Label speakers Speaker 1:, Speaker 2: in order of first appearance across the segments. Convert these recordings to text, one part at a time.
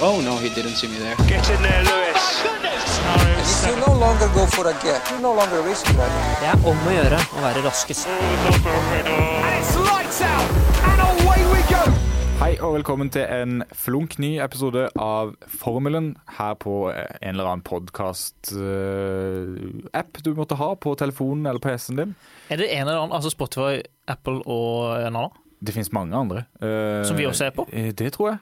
Speaker 1: Oh no, he didn't see me there.
Speaker 2: Get in there, Lewis.
Speaker 3: If you no longer go for a gap, you no longer risk that.
Speaker 4: Det er om å gjøre å være raskest.
Speaker 5: Hei og velkommen til en flunk ny episode av Formelen her på eh, en eller annen podkast-app du måtte ha på telefonen eller PC-en din.
Speaker 4: Er det en eller annen, altså Spotify, Apple og en annen?
Speaker 5: Det finnes mange andre. Eh,
Speaker 4: Som vi også er på?
Speaker 5: eh, Det tror jeg.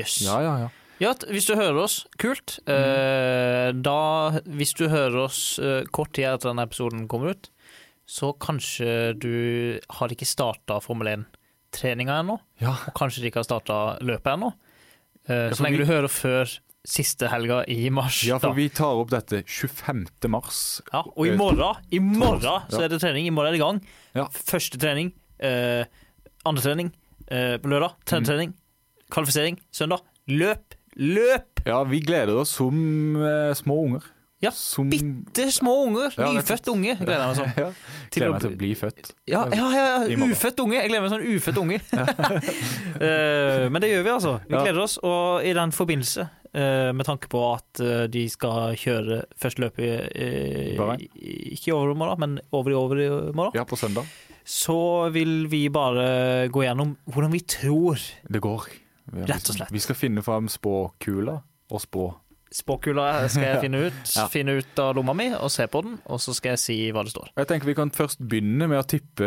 Speaker 4: Yes.
Speaker 5: Ja, Mm. ja, ja.
Speaker 4: Ja, t- hvis du hører oss, kult. Eh, da, hvis du hører oss eh, kort tid etter denne episoden kommer ut, så kanskje du har ikke starta Formel 1-treninga ennå.
Speaker 5: Ja.
Speaker 4: Og kanskje de ikke har starta løpet ennå. Eh,
Speaker 5: for
Speaker 4: så lenge
Speaker 5: vi-
Speaker 4: du hører før siste helga i mars.
Speaker 5: ja,
Speaker 4: da.
Speaker 5: for vi tar opp dette 25. mars.
Speaker 4: ja, og i morgen, i morgen så
Speaker 5: Ja.
Speaker 4: er det trening. I morgen er det i gang.
Speaker 5: Ja.
Speaker 4: Første trening. eh, andre trening eh, på lørdag. Tredje
Speaker 5: Mm.
Speaker 4: trening. Kvalifisering søndag. Løp! Løp!
Speaker 5: Ja, vi gleder oss som eh, små unger.
Speaker 4: Ja,
Speaker 5: som
Speaker 4: Bitte små unger.
Speaker 5: Ja, det er
Speaker 4: Nyfødt unge, gleder jeg meg sånn.
Speaker 5: ja. Gleder meg til å bli født.
Speaker 4: Ja, ja, ja,
Speaker 5: I
Speaker 4: ja.
Speaker 5: morgen.
Speaker 4: Ufødt unge. Jeg gleder meg sånn ufødt unge. Eh, men det gjør vi, altså. Vi
Speaker 5: Ja.
Speaker 4: gleder oss. Og i den forbindelse, eh, med tanke på at eh, de skal kjøre første løp i, eh,
Speaker 5: Bahrain.
Speaker 4: i- Ikke i overmorgen, men over i overmorgen,
Speaker 5: Ja, på søndag.
Speaker 4: så vil vi bare gå gjennom hvordan vi tror
Speaker 5: Det går. Vi, har-
Speaker 4: Rett og slett.
Speaker 5: Vi skal finne fram spåkula og spå.
Speaker 4: spåkula skal jeg finne ut.
Speaker 5: Ja.
Speaker 4: Finne ut av lomma mi og se på den, og så skal jeg si hva det står.
Speaker 5: Og Jeg tenker Vi kan først begynne med å tippe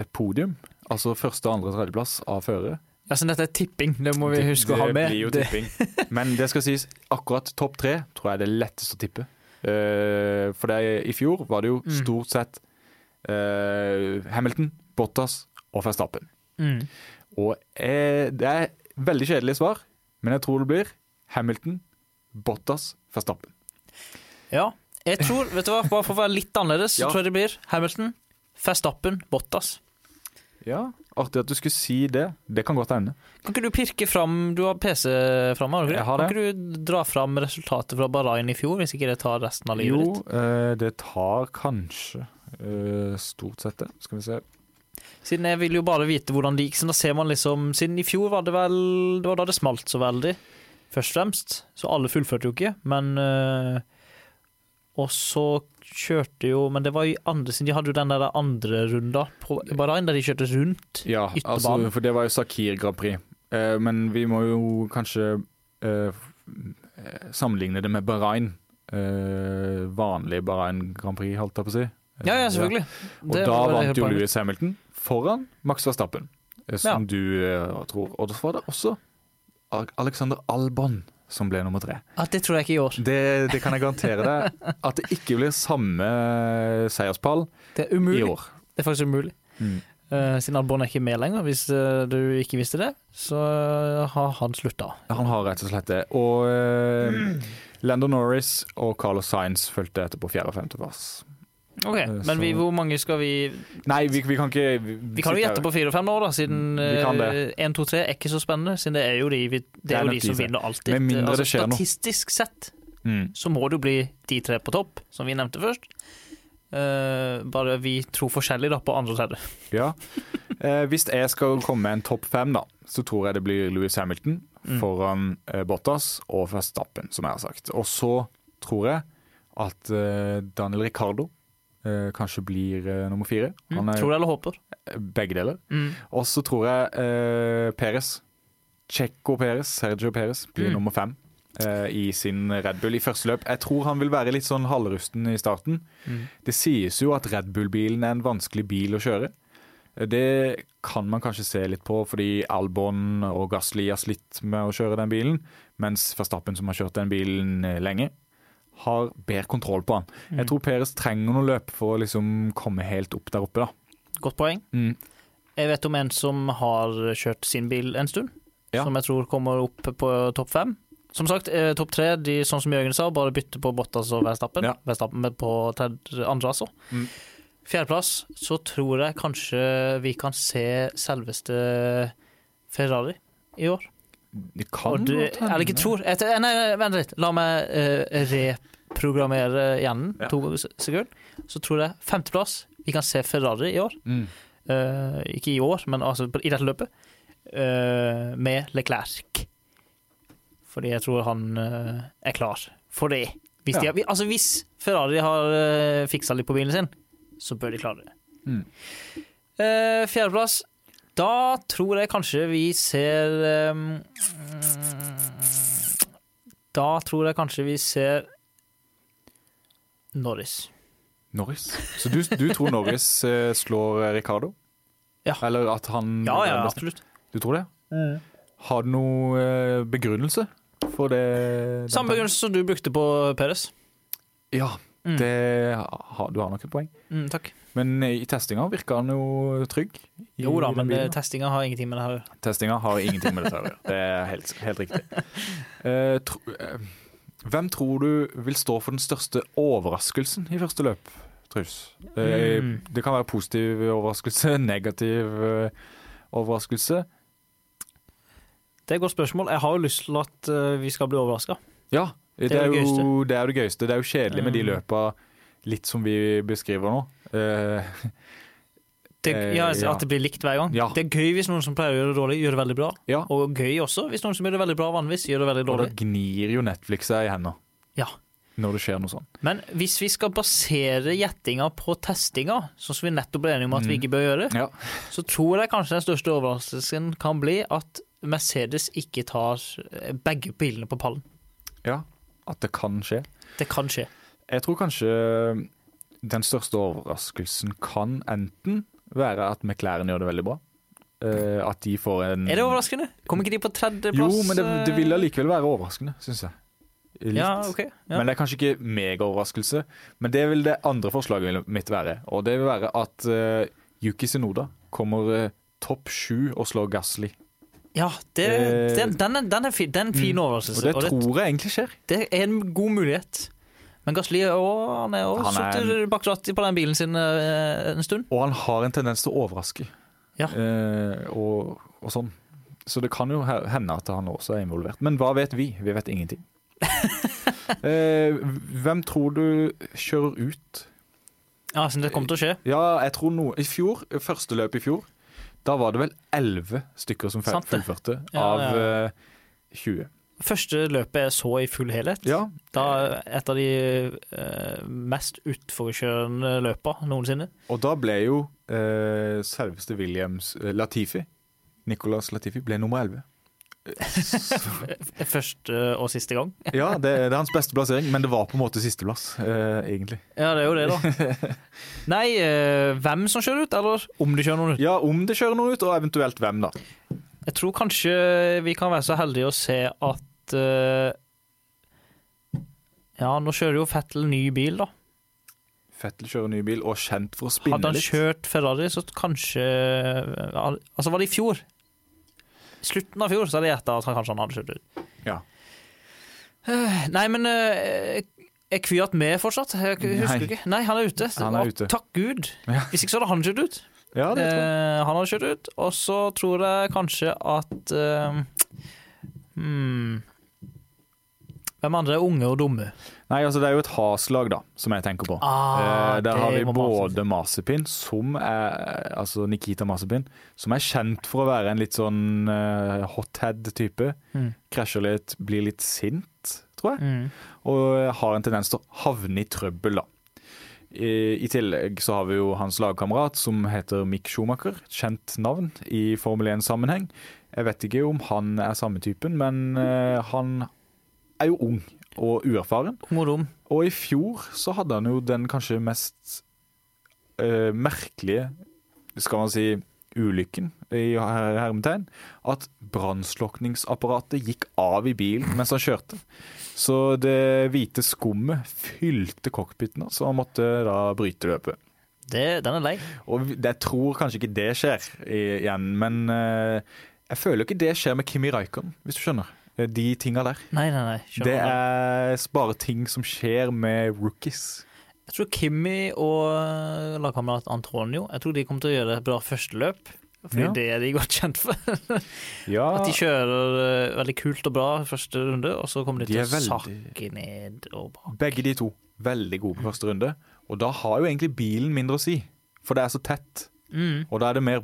Speaker 5: et podium. Altså første, andre, tredjeplass av føre.
Speaker 4: Ja, så dette er tipping, det må vi huske å ha
Speaker 5: Det
Speaker 4: med.
Speaker 5: blir jo
Speaker 4: Det-
Speaker 5: tipping. Men det skal sies, akkurat topp tre tror jeg er det letteste å tippe. Eh, for det, er- i fjor var det jo
Speaker 4: Mm.
Speaker 5: stort sett eh, Hamilton, Bottas og Verstappen.
Speaker 4: Mm.
Speaker 5: Og eh, det er veldig kjedelige svar, men jeg tror det blir Hamilton, Bottas, Verstappen.
Speaker 4: Ja. Jeg tror, vet du hva, Bare for å være litt annerledes,
Speaker 5: Ja.
Speaker 4: så tror jeg det blir Hamilton, Verstappen, Bottas.
Speaker 5: Ja, Artig at du skulle si det. Det kan godt hende.
Speaker 4: Kan ikke du pirke fram Du har PC framme, har du ikke?
Speaker 5: Jeg har det.
Speaker 4: Kan ikke du dra fram resultatet fra Bahrain i fjor, hvis ikke det tar resten av livet
Speaker 5: Jo,
Speaker 4: ditt?
Speaker 5: eh, det tar kanskje eh, stort sett det. Skal vi se.
Speaker 4: Siden jeg vil jo bare vite hvordan det gikk, så da ser man liksom Siden i fjor var det vel Det var da det smalt så veldig, først og fremst. Så alle fullførte jo ikke, men eh, Og så kjørte jo Men det var i andre siden de hadde jo den der andre runda på Bahrain, der de kjørte rundt.
Speaker 5: Ja, altså,
Speaker 4: Ytterbanen.
Speaker 5: for det var jo Sakir Grand Prix. Eh, men vi må jo kanskje eh, f- eh, sammenligne det med Bahrain. Eh, vanlig Bahrain Grand Prix, holdt jeg på å si. Eh,
Speaker 4: Ja, ja, selvfølgelig.
Speaker 5: Og
Speaker 4: Det
Speaker 5: da
Speaker 4: var det hele
Speaker 5: vant jo
Speaker 4: poenget.
Speaker 5: Lewis Hamilton foran Max Verstappen, eh, som du eh, tror. Og da var det også Alexander Albon som ble nummer tre.
Speaker 4: Ja, det tror jeg ikke i år.
Speaker 5: Det, det kan jeg garantere deg. At det ikke blir samme seierspall
Speaker 4: Det er
Speaker 5: i
Speaker 4: umulig.
Speaker 5: år.
Speaker 4: Det er faktisk umulig.
Speaker 5: Mm.
Speaker 4: Eh, siden Albon er ikke med lenger, hvis eh, du ikke visste det, så eh, har han slutta.
Speaker 5: Han har rett og slett det. Og eh, Lando Norris og Carlos Sainz fulgte etter på fjerde- og femteplass.
Speaker 4: Ok,
Speaker 5: Eh,
Speaker 4: Men vi,
Speaker 5: så-
Speaker 4: hvor mange skal vi
Speaker 5: Nei, vi, vi kan ikke Vi, Mm,
Speaker 4: Vi kan jo gjette på fire og fem nå, da, siden eh,
Speaker 5: Vi kan det.
Speaker 4: 1, 2, 3 er ikke så spennende. Siden det er jo de, vi, det
Speaker 5: Det
Speaker 4: er
Speaker 5: er
Speaker 4: jo
Speaker 5: nok
Speaker 4: de
Speaker 5: de
Speaker 4: som
Speaker 5: tre.
Speaker 4: vinner alltid. Altså,
Speaker 5: Med mindre det skjer noe.
Speaker 4: statistisk sett
Speaker 5: mm.
Speaker 4: så må det jo bli de tre på topp, som vi nevnte først. Eh, bare vi tror forskjellig da på andre og tredje.
Speaker 5: Ja. Eh, hvis jeg skal komme med en topp fem, da, så tror jeg det blir Louis Hamilton
Speaker 4: Mm.
Speaker 5: foran eh, Bottas og Verstappen, som jeg har sagt. Og så tror jeg at eh, Daniel Ricardo eh, kanskje blir eh, nummer fire.
Speaker 4: Mm,
Speaker 5: Han er
Speaker 4: Tror eller håper.
Speaker 5: begge deler.
Speaker 4: Mm.
Speaker 5: Og så tror jeg eh, Peres, Checo Peres, Sergio Peres, blir
Speaker 4: Mm.
Speaker 5: nummer fem eh, i sin Red Bull i første løp. Jeg tror han vil være litt sånn halvrusten i starten.
Speaker 4: Mm.
Speaker 5: Det sies jo at Red Bull-bilen er en vanskelig bil å kjøre. Eh, Det kan man kanskje se litt på, fordi Albon og Gasli har slitt med å kjøre den bilen, mens Verstappen, som har kjørt den bilen eh, lenge, har bedre kontroll på han. Jeg tror Peres trenger noen løp for å liksom komme helt opp der oppe, da.
Speaker 4: Godt poeng.
Speaker 5: Mm.
Speaker 4: Jeg vet om en som har kjørt sin bil en stund,
Speaker 5: Ja.
Speaker 4: som jeg tror kommer opp på topp fem. Som sagt, eh, topp tre, de, sånn som Jørgen sa, bare bytte på Bottas og Verstappen.
Speaker 5: Ja.
Speaker 4: Verstappen med på tredje, andre, altså.
Speaker 5: Mm.
Speaker 4: Fjerdeplass, så tror jeg kanskje vi kan se selveste Ferrari i år.
Speaker 5: Det kan
Speaker 4: Og du,
Speaker 5: godt hende.
Speaker 4: eller ikke tror jeg, tror- Nei, nei, vent litt. La meg eh, reprogrammere hjernen
Speaker 5: Ja.
Speaker 4: to se- sekunder. Så tror jeg femteplass, vi kan se Ferrari i år.
Speaker 5: Mm.
Speaker 4: Eh, ikke i år, men altså på- i dette løpet, eh, med Leclerc Fordi jeg tror han eh, er klar for det. Hvis,
Speaker 5: Ja.
Speaker 4: de, har- altså hvis Ferrari har uh, fiksa litt på bilen sin, så bør de klare det.
Speaker 5: Mm.
Speaker 4: Eh, fjerdeplass. Da tror jeg kanskje vi ser eh, mm, Da tror jeg kanskje vi ser Norris.
Speaker 5: Norris. Så du, du tror Norris eh, slår eh, Ricardo?
Speaker 4: Ja.
Speaker 5: Eller at han
Speaker 4: Ja, ja, absolutt.
Speaker 5: Du tror det? Har du noen eh, begrunnelse for det? den
Speaker 4: Samme
Speaker 5: tanken?
Speaker 4: begrunnelse som du brukte på Peres.
Speaker 5: Ja,
Speaker 4: Mm.
Speaker 5: det har, du har nok et poeng.
Speaker 4: Mm, takk.
Speaker 5: Men eh, i testinga virka han jo trygg. i
Speaker 4: Jo da,
Speaker 5: den
Speaker 4: men
Speaker 5: bilen.
Speaker 4: eh, testinga har ingenting med det her å gjøre.
Speaker 5: Testinga har ingenting med dette å gjøre. Det er helt, helt riktig. Eh, tro, eh, hvem tror du vil stå for den største overraskelsen i første løp, Truls? Eh,
Speaker 4: Mm.
Speaker 5: Det kan være positiv overraskelse, negativ eh, overraskelse.
Speaker 4: Det er et godt spørsmål. Jeg har jo lyst til at eh, vi skal bli overraska.
Speaker 5: Ja, det,
Speaker 4: er
Speaker 5: er
Speaker 4: det
Speaker 5: jo, det er det gøyeste. Det er jo kjedelig med de
Speaker 4: Mm.
Speaker 5: løpa litt som vi beskriver nå. Eh, Eh,
Speaker 4: Ja, altså,
Speaker 5: ja.
Speaker 4: at det blir likt hver gang.
Speaker 5: Ja.
Speaker 4: Det er gøy hvis noen som pleier å gjøre det dårlig, gjør det veldig bra.
Speaker 5: ja,
Speaker 4: Og gøy også hvis noen som gjør det veldig bra vanligvis, gjør det veldig
Speaker 5: og da
Speaker 4: dårlig.
Speaker 5: gnir jo Netflix seg i hendene
Speaker 4: Ja.
Speaker 5: når det skjer noe sånt.
Speaker 4: Men hvis vi skal basere gjettinga på testinga, sånn som vi nettopp ble enige om at vi
Speaker 5: Mm.
Speaker 4: ikke bør gjøre,
Speaker 5: Ja.
Speaker 4: så tror jeg kanskje den største overraskelsen kan bli at Mercedes ikke tar eh, begge bilene på pallen.
Speaker 5: Ja, at det kan skje.
Speaker 4: Det kan skje.
Speaker 5: Jeg tror kanskje eh, den største overraskelsen kan enten være at McLaren gjør det veldig bra. Eh, at de får en
Speaker 4: Er det overraskende? Kom ikke de på
Speaker 5: Mm. Jo,
Speaker 4: tredjeplass?
Speaker 5: men det, det vil allikevel være overraskende, syns jeg. Litt.
Speaker 4: Ja, ok. Ja.
Speaker 5: Men det er kanskje ikke megaoverraskelse. Men det vil det andre forslaget mitt være. Og det vil være at eh, Yuki Sinoda kommer eh, topp sju og slår Gasli.
Speaker 4: ja det,
Speaker 5: Eh, mm.
Speaker 4: den, den, er, den er fin, den er en fin
Speaker 5: Og
Speaker 4: overraskelse.
Speaker 5: det tror jeg egentlig skjer.
Speaker 4: Det er en god mulighet. Men Gasli er også- han er også
Speaker 5: Han er-
Speaker 4: sittet bak rattet på den bilen sin eh, en stund.
Speaker 5: Og han har en tendens til å overraske.
Speaker 4: Ja.
Speaker 5: Eh, og, og sånn. Så det kan jo he- hende at han også er involvert. Men hva vet vi? Vi vet ingenting. eh, hvem tror du kjører ut?
Speaker 4: Ja, så det kommer til å skje.
Speaker 5: Ja, jeg tror noe I fjor, første løp i fjor, da var det vel elleve stykker som fe-
Speaker 4: Sant det.
Speaker 5: fullførte
Speaker 4: Ja,
Speaker 5: av
Speaker 4: ja, ja.
Speaker 5: eh, 20.
Speaker 4: Første løpet jeg så i full helhet,
Speaker 5: Ja,
Speaker 4: da et av de eh, mest utforkjørende løpa noensinne.
Speaker 5: og da ble jo eh, selveste Williams eh, Latifi, Nicolas Latifi, ble nummer 11. Eh, Så
Speaker 4: F- Første og siste gang.
Speaker 5: Ja, det, det er hans beste plassering, men det var på en måte sisteplass, eh, egentlig.
Speaker 4: Ja, det er jo det, da. Nei, eh, hvem som kjører ut, eller om de kjører noen ut.
Speaker 5: Ja, om det kjører noen ut, og eventuelt hvem, da.
Speaker 4: Jeg tror kanskje vi kan være så heldige å se at eh, Ja, nå kjører jo Fettel ny bil, da.
Speaker 5: Fettel kjører ny bil, og kjent for å spinne
Speaker 4: Hadde han
Speaker 5: litt.
Speaker 4: kjørt Ferrari, så kanskje Altså, var det i fjor? Slutten av fjor, så hadde jeg gjetta at han kanskje han hadde kjørt ut.
Speaker 5: Ja.
Speaker 4: Eh, Nei, men eh, er Kvyat med fortsatt? Jeg husker
Speaker 5: Nei.
Speaker 4: ikke. Nei, han er ute.
Speaker 5: Han er
Speaker 4: Å,
Speaker 5: ute.
Speaker 4: Takk Gud.
Speaker 5: Ja.
Speaker 4: Hvis ikke så hadde han kjørt ut.
Speaker 5: Ja, det tror jeg.
Speaker 4: Eh, han hadde kjørt ut, og så tror jeg kanskje at eh, hmm, Hvem andre er unge og dumme?
Speaker 5: Nei, altså, det er jo et haslag, da, som jeg tenker på.
Speaker 4: Ah,
Speaker 5: Eh, der har vi
Speaker 4: det må man
Speaker 5: både Masepin, som er Altså Nikita Masepin, som er kjent for å være en litt sånn eh, hothead-type.
Speaker 4: Mm.
Speaker 5: Krasjer litt, blir litt sint, tror jeg.
Speaker 4: Mm.
Speaker 5: og eh, har en tendens til å havne i trøbbel, da. I, I tillegg så har vi jo hans lagkamerat som heter Mick Schumacher, et kjent navn i Formel 1-sammenheng. Jeg vet ikke om han er samme typen, men eh, han er jo ung og uerfaren.
Speaker 4: Ung og dum.
Speaker 5: Og i fjor så hadde han jo den kanskje mest eh, merkelige, skal man si, ulykken i her hermetegn. At brannslukningsapparatet gikk av i bilen mens han kjørte. Så det hvite skummet fylte cockpiten, så han måtte da bryte løpet.
Speaker 4: Det, den er lei.
Speaker 5: Og vi- jeg tror kanskje ikke det skjer i- igjen, men eh, jeg føler ikke det skjer med Kimi Raikon, hvis du skjønner. Eh, De tinga der.
Speaker 4: Nei, nei, nei. skjønner
Speaker 5: Det
Speaker 4: du.
Speaker 5: er bare ting som skjer med rookies.
Speaker 4: Jeg tror Kimmy og eh, lagkamerat Antonio Jeg tror de kommer til å gjøre et bra førsteløp. Fordi
Speaker 5: Ja.
Speaker 4: det er de godt kjent for.
Speaker 5: Ja,
Speaker 4: At de kjører eh, veldig kult og bra første runde, og så kommer de,
Speaker 5: De
Speaker 4: til
Speaker 5: er
Speaker 4: å
Speaker 5: veldig-
Speaker 4: sakke ned og bak.
Speaker 5: Begge de to veldig gode på første runde. Og da har jo egentlig bilen mindre å si, for det er så tett.
Speaker 4: Mm,
Speaker 5: Og da er det mer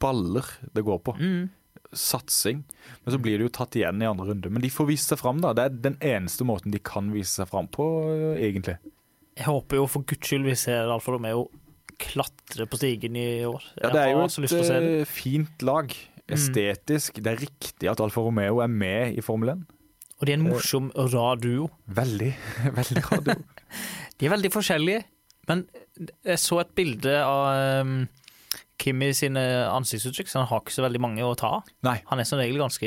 Speaker 5: baller det går på.
Speaker 4: mm.
Speaker 5: satsing. Men så blir det jo tatt igjen i andre runde. Men de får vise seg fram, da. Det er den eneste måten de kan vise seg fram på, eh, egentlig.
Speaker 4: Jeg håper jo for guds skyld vi ser Alfa Romeo klatre på stigen i år.
Speaker 5: Ja, det er
Speaker 4: jeg
Speaker 5: jo
Speaker 4: har så lyst til å se Mm.
Speaker 5: et
Speaker 4: det.
Speaker 5: eh, fint lag. Estetisk. Det er riktig at Alfa Romeo er med i Formel 1.
Speaker 4: Og de er en morsom, rar duo.
Speaker 5: Veldig, veldig rart.
Speaker 4: De er veldig forskjellige, men jeg så et bilde av um, Kimi sine ansiktsuttrykk, så han har ikke så veldig mange å ta. av.
Speaker 5: Nei.
Speaker 4: Han er som regel ganske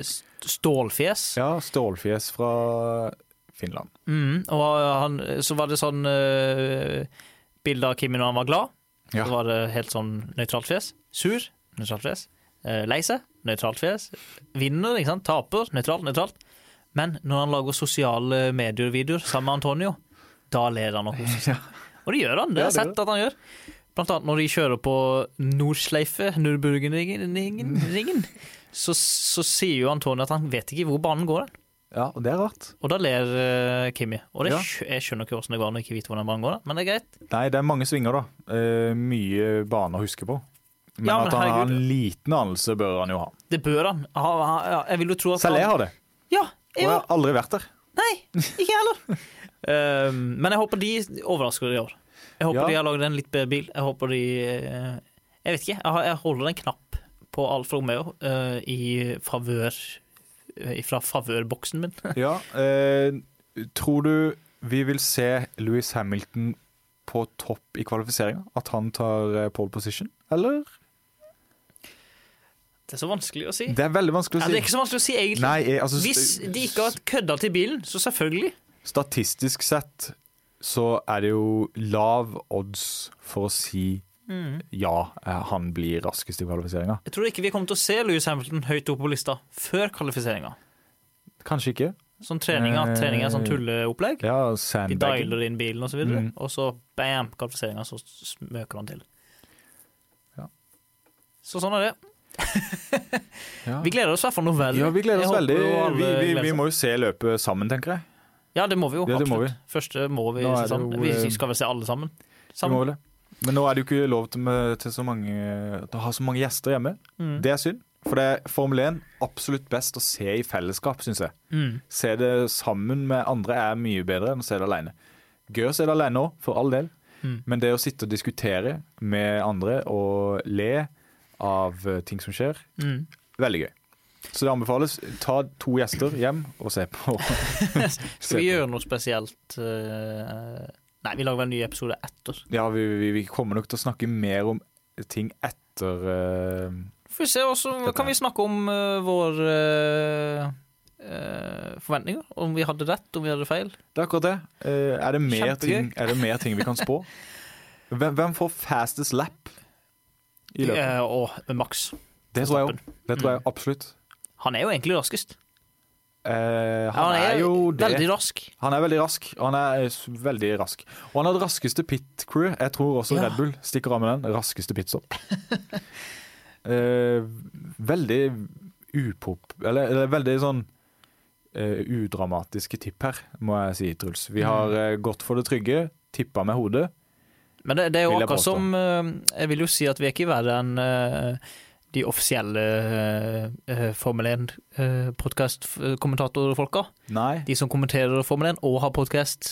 Speaker 4: st- stålfjes.
Speaker 5: Ja, stålfjes fra Finland.
Speaker 4: Mm, og han, så var det sånn uh, bilde av Kimi når han var glad.
Speaker 5: Ja.
Speaker 4: Så var det helt sånn nøytralt fjes. Sur, nøytralt fjes. Eh, Lei seg, nøytralt fjes. Vinner, ikke sant. Taper, nøytralt, nøytralt. Men når han lager sosiale medier-videoer sammen med Antonio, da ler han og koser seg. Og det gjør han, det har jeg
Speaker 5: Ja, det gjør
Speaker 4: sett at han gjør. Blant annet når de kjører på Nordsleife, Nürburgringen, ringen, ringen,
Speaker 5: Mm.
Speaker 4: så, så sier jo Antonio at han vet ikke hvor banen går.
Speaker 5: Ja, og det er rart.
Speaker 4: Og da ler eh, Kimi. Og det,
Speaker 5: Ja.
Speaker 4: skj- jeg skjønner ikke hvordan det går når jeg ikke vet hvordan banen går, men det er greit.
Speaker 5: Nei, det er mange svinger, da. Eh, mye bane å huske på. Men,
Speaker 4: Ja, men
Speaker 5: at han har
Speaker 4: herregud.
Speaker 5: en liten anelse, bør han jo ha.
Speaker 4: Det bør han. Ha, ha, ja, jeg vil jo tro at
Speaker 5: Selv jeg
Speaker 4: han
Speaker 5: har det.
Speaker 4: Ja,
Speaker 5: Og jeg
Speaker 4: ja.
Speaker 5: har aldri vært der.
Speaker 4: Nei, ikke jeg heller. Eh, men jeg håper de overrasker i år. Jeg håper
Speaker 5: Ja.
Speaker 4: de har lagd en litt bedre bil. Jeg håper de eh, Jeg vet ikke. Jeg, har, jeg holder en knapp på Alfa Romeo eh, i favør eh, Fra favørboksen min.
Speaker 5: Ja, eh, tror du vi vil se Louis Hamilton på topp i kvalifiseringa? At han tar eh, pole position, eller?
Speaker 4: Det er så vanskelig å si.
Speaker 5: Det er veldig vanskelig
Speaker 4: Ja,
Speaker 5: å
Speaker 4: det
Speaker 5: si.
Speaker 4: er ikke så vanskelig å si, egentlig.
Speaker 5: Nei, jeg, altså,
Speaker 4: Hvis
Speaker 5: st-
Speaker 4: de ikke har kødda til bilen, så selvfølgelig.
Speaker 5: Statistisk sett så er det jo lav odds for å si ja, eh, han blir raskest i kvalifiseringa.
Speaker 4: Jeg tror ikke vi kommer til å se Louis Hamilton høyt oppe på lista før kvalifiseringa.
Speaker 5: Kanskje ikke.
Speaker 4: Sånn treninga,
Speaker 5: Eh,
Speaker 4: trening er sånn tulleopplegg.
Speaker 5: Ja,
Speaker 4: De
Speaker 5: sandbaggen.
Speaker 4: dialer inn bilen og så videre,
Speaker 5: Mm.
Speaker 4: og så bam, kvalifiseringa, så smøker han til.
Speaker 5: Ja.
Speaker 4: Så sånn er det.
Speaker 5: Ja.
Speaker 4: Vi gleder oss i hvert fall noe veldig.
Speaker 5: Ja, vi gleder
Speaker 4: Jeg
Speaker 5: oss
Speaker 4: håper
Speaker 5: veldig.
Speaker 4: jo alle
Speaker 5: Vi, vi,
Speaker 4: gleder
Speaker 5: vi
Speaker 4: seg.
Speaker 5: må jo se løpet sammen, tenker jeg.
Speaker 4: Ja, det må vi jo.
Speaker 5: Ja, det må
Speaker 4: absolutt. Første må vi
Speaker 5: Nå er
Speaker 4: se
Speaker 5: det
Speaker 4: sammen.
Speaker 5: jo, eh,
Speaker 4: Vi skal vel se alle sammen.
Speaker 5: Vi må
Speaker 4: sammen.
Speaker 5: vel det. Men nå er det jo ikke lov til, med, til så mange, å ha så mange gjester hjemme.
Speaker 4: Mm.
Speaker 5: Det er synd. For det er Formel 1 absolutt best å se i fellesskap, syns jeg.
Speaker 4: Mm.
Speaker 5: Se det sammen med andre er mye bedre enn å se det alene. Gøy å se det alene òg, for all del.
Speaker 4: Mm.
Speaker 5: Men det å sitte og diskutere med andre og le av eh, ting som skjer,
Speaker 4: Mm.
Speaker 5: veldig gøy. Så det anbefales. Ta to gjester hjem og se på.
Speaker 4: Skal vi gjøre noe spesielt eh, Nei, vi lager vel en ny episode etter.
Speaker 5: Ja, vi, vi, vi kommer nok til å snakke mer om ting etter eh,
Speaker 4: Får vi se, og så kan vi snakke om uh, vår eh, eh, forventninger. Om vi hadde rett, om vi hadde feil.
Speaker 5: Det er akkurat det. Eh, er, det mer
Speaker 4: Kjempegøy.
Speaker 5: ting, er det mer ting vi kan spå? Hvem, hvem får fastest lap i løpet?
Speaker 4: Eh, og Max.
Speaker 5: Det tror jeg jo. Det tror jeg absolutt.
Speaker 4: Han er jo egentlig raskest.
Speaker 5: Eh, han er jo
Speaker 4: veldig
Speaker 5: det.
Speaker 4: rask.
Speaker 5: Han er veldig rask. Han er s- veldig rask. Og han har det raskeste pit crew. Jeg tror også
Speaker 4: Ja.
Speaker 5: Red Bull stikker av med den. Raskeste pitstop. Eh, veldig upop... Eller, eller veldig sånn eh, udramatiske tipp her, må jeg si, Truls.
Speaker 4: Mm.
Speaker 5: Vi har eh, gått for det trygge, tippa med hodet.
Speaker 4: Men det, det er jo
Speaker 5: Vil jeg
Speaker 4: akkurat
Speaker 5: påstå.
Speaker 4: som eh, Jeg vil jo si at vi er ikke verre enn eh, de offisielle eh, eh, Formel 1-podkast-kommentatorfolka.
Speaker 5: Nei.
Speaker 4: de som kommenterer Formel 1 og har podkast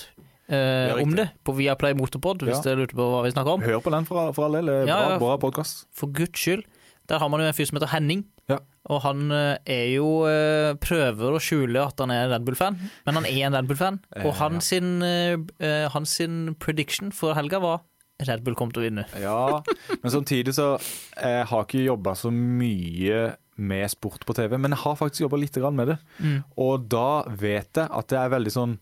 Speaker 4: eh,
Speaker 5: Ja, riktig.
Speaker 4: om det på Viaplay Motorpod, hvis
Speaker 5: Ja.
Speaker 4: dere lurte på hva vi snakker om.
Speaker 5: Hør på den for, for all del. Bra,
Speaker 4: Ja, ja.
Speaker 5: bra podkast.
Speaker 4: for guds skyld. Der har man jo en fyr som heter Henning.
Speaker 5: Ja.
Speaker 4: Og han eh, er jo eh, prøver å skjule at han er Red Bull-fan, men han er en Red Bull-fan.
Speaker 5: Eh,
Speaker 4: Og han sin, eh, eh, han sin prediction for helga var Red Bull kom til å vinne.
Speaker 5: Ja, men samtidig så Jeg har ikke jobba så mye med sport på TV, men jeg har faktisk jobba litt grann med det.
Speaker 4: Mm.
Speaker 5: Og da vet jeg at det er veldig sånn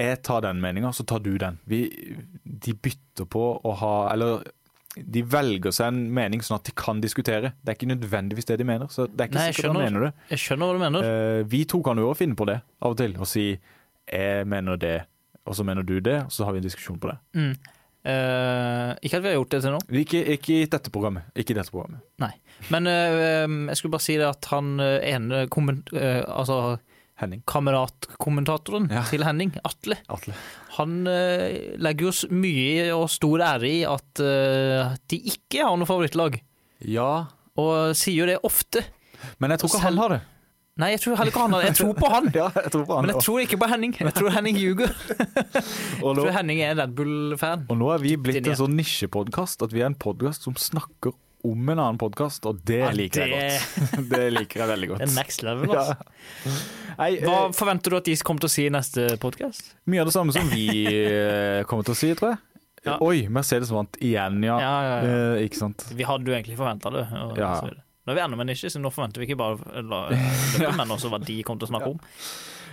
Speaker 5: Jeg tar den meninga, så tar du den. Vi, de bytter på å ha Eller de velger seg en mening sånn at de kan diskutere. Det er ikke nødvendigvis det de mener. Så det er ikke
Speaker 4: Nei, jeg
Speaker 5: sikkert han
Speaker 4: skjønner.
Speaker 5: mener det.
Speaker 4: Jeg skjønner hva du mener.
Speaker 5: Eh, vi to kan jo også finne på det av og til, og si 'jeg mener det', og så mener du det, og så har vi en diskusjon på det.
Speaker 4: Mm. Eh, ikke at vi har gjort det til nå,
Speaker 5: Ikke, ikke i dette programmet. Ikke i dette programmet.
Speaker 4: men eh, jeg skulle bare si det at han eh, ene komment... eh, altså
Speaker 5: Henning.
Speaker 4: kameratkommentatoren
Speaker 5: Ja.
Speaker 4: til Henning, Atle,
Speaker 5: Atle.
Speaker 4: Han eh, legger jo s- mye og stor ære i at eh, de ikke har noe favorittlag,
Speaker 5: Ja.
Speaker 4: og sier jo det ofte.
Speaker 5: Men jeg tror ikke
Speaker 4: Selv-
Speaker 5: han har det.
Speaker 4: Nei, jeg tror heller ikke han har det. Jeg tror på han,
Speaker 5: Ja, jeg tror på han
Speaker 4: men jeg
Speaker 5: også.
Speaker 4: tror ikke på Henning. Jeg tror Henning ljuger. Jeg tror
Speaker 5: og, nå,
Speaker 4: Henning er Red Bull-fan.
Speaker 5: og nå er vi blitt
Speaker 4: Din, ja.
Speaker 5: en sånn nisjepodkast at vi er en podkast som snakker om en annen podkast, og det
Speaker 4: Ja,
Speaker 5: liker jeg godt. Det liker jeg veldig
Speaker 4: Det er
Speaker 5: godt.
Speaker 4: next level,
Speaker 5: Ja.
Speaker 4: altså.
Speaker 5: Nei,
Speaker 4: Hva
Speaker 5: eh,
Speaker 4: forventer du at de kommer til å si i neste podkast?
Speaker 5: mye av det samme som vi eh, kommer til å si, tror jeg.
Speaker 4: Ja.
Speaker 5: Oi, Mercedes vant igjen, ja.
Speaker 4: Ja, ja, ja.
Speaker 5: Eh, ikke sant.
Speaker 4: Vi hadde jo egentlig forventa det. Og
Speaker 5: Ja.
Speaker 4: så videre. Nå er vi enda med nisje, så nå forventer vi ikke bare eh, la- løpet, men også hva de kommer til å snakke om.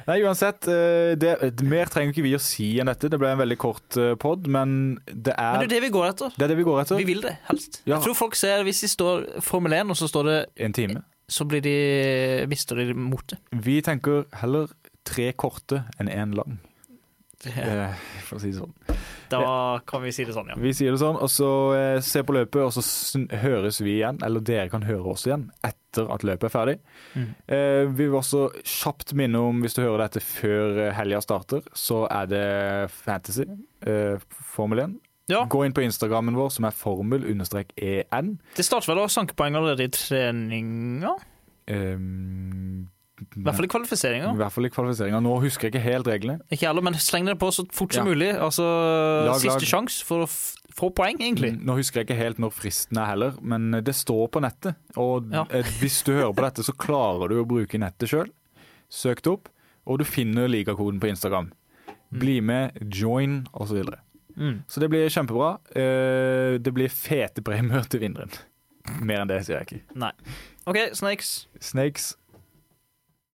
Speaker 5: Nei, uansett. eh, Det, mer trenger ikke vi å si enn dette. Det ble en veldig kort eh, pod, men det
Speaker 4: Men det
Speaker 5: er
Speaker 4: er jo det vi går etter.
Speaker 5: det er det vi går etter.
Speaker 4: Vi vil det, helst.
Speaker 5: Ja.
Speaker 4: Jeg tror folk ser, Hvis de står Formel 1, og så står det
Speaker 5: En time.
Speaker 4: Så blir de mister de motet.
Speaker 5: Vi tenker heller tre korte enn én lang,
Speaker 4: Det-
Speaker 5: eh, for å si det sånn.
Speaker 4: Da kan vi si det sånn, ja.
Speaker 5: Vi sier det sånn, og så eh, se på løpet, og så sn- høres vi igjen, eller dere kan høre oss igjen, etter at løpet er ferdig.
Speaker 4: Mm.
Speaker 5: Eh, Vi vil også kjapt minne om, hvis du hører dette før eh, helga starter, så er det Fantasy, eh, Formel 1.
Speaker 4: Ja.
Speaker 5: Gå inn på Instagrammen vår, som er E formel-en.
Speaker 4: Det starter vel å sanke poeng allerede i treninga?
Speaker 5: Um,
Speaker 4: I hvert fall i kvalifiseringa.
Speaker 5: I hvert fall i kvalifiseringa. Nå husker jeg ikke helt reglene.
Speaker 4: Ikke alle, men sleng dere på så fort som
Speaker 5: Mm. Ja.
Speaker 4: mulig. Altså,
Speaker 5: Lag,
Speaker 4: Siste
Speaker 5: lag.
Speaker 4: sjanse for å f få poeng, egentlig.
Speaker 5: Nå husker jeg ikke helt når fristen er heller, men eh, det står på nettet. Og
Speaker 4: Ja.
Speaker 5: eh, hvis du hører på dette, så klarer du å bruke nettet sjøl. Søk det opp, og du finner ligakoden på Instagram. Bli med, join osv. Så, videre.
Speaker 4: Mm.
Speaker 5: så det blir kjempebra. Eh, Det blir fete premier til vinneren. Mer enn det sier jeg ikke.
Speaker 4: Nei. OK, Snakes.
Speaker 5: Snakes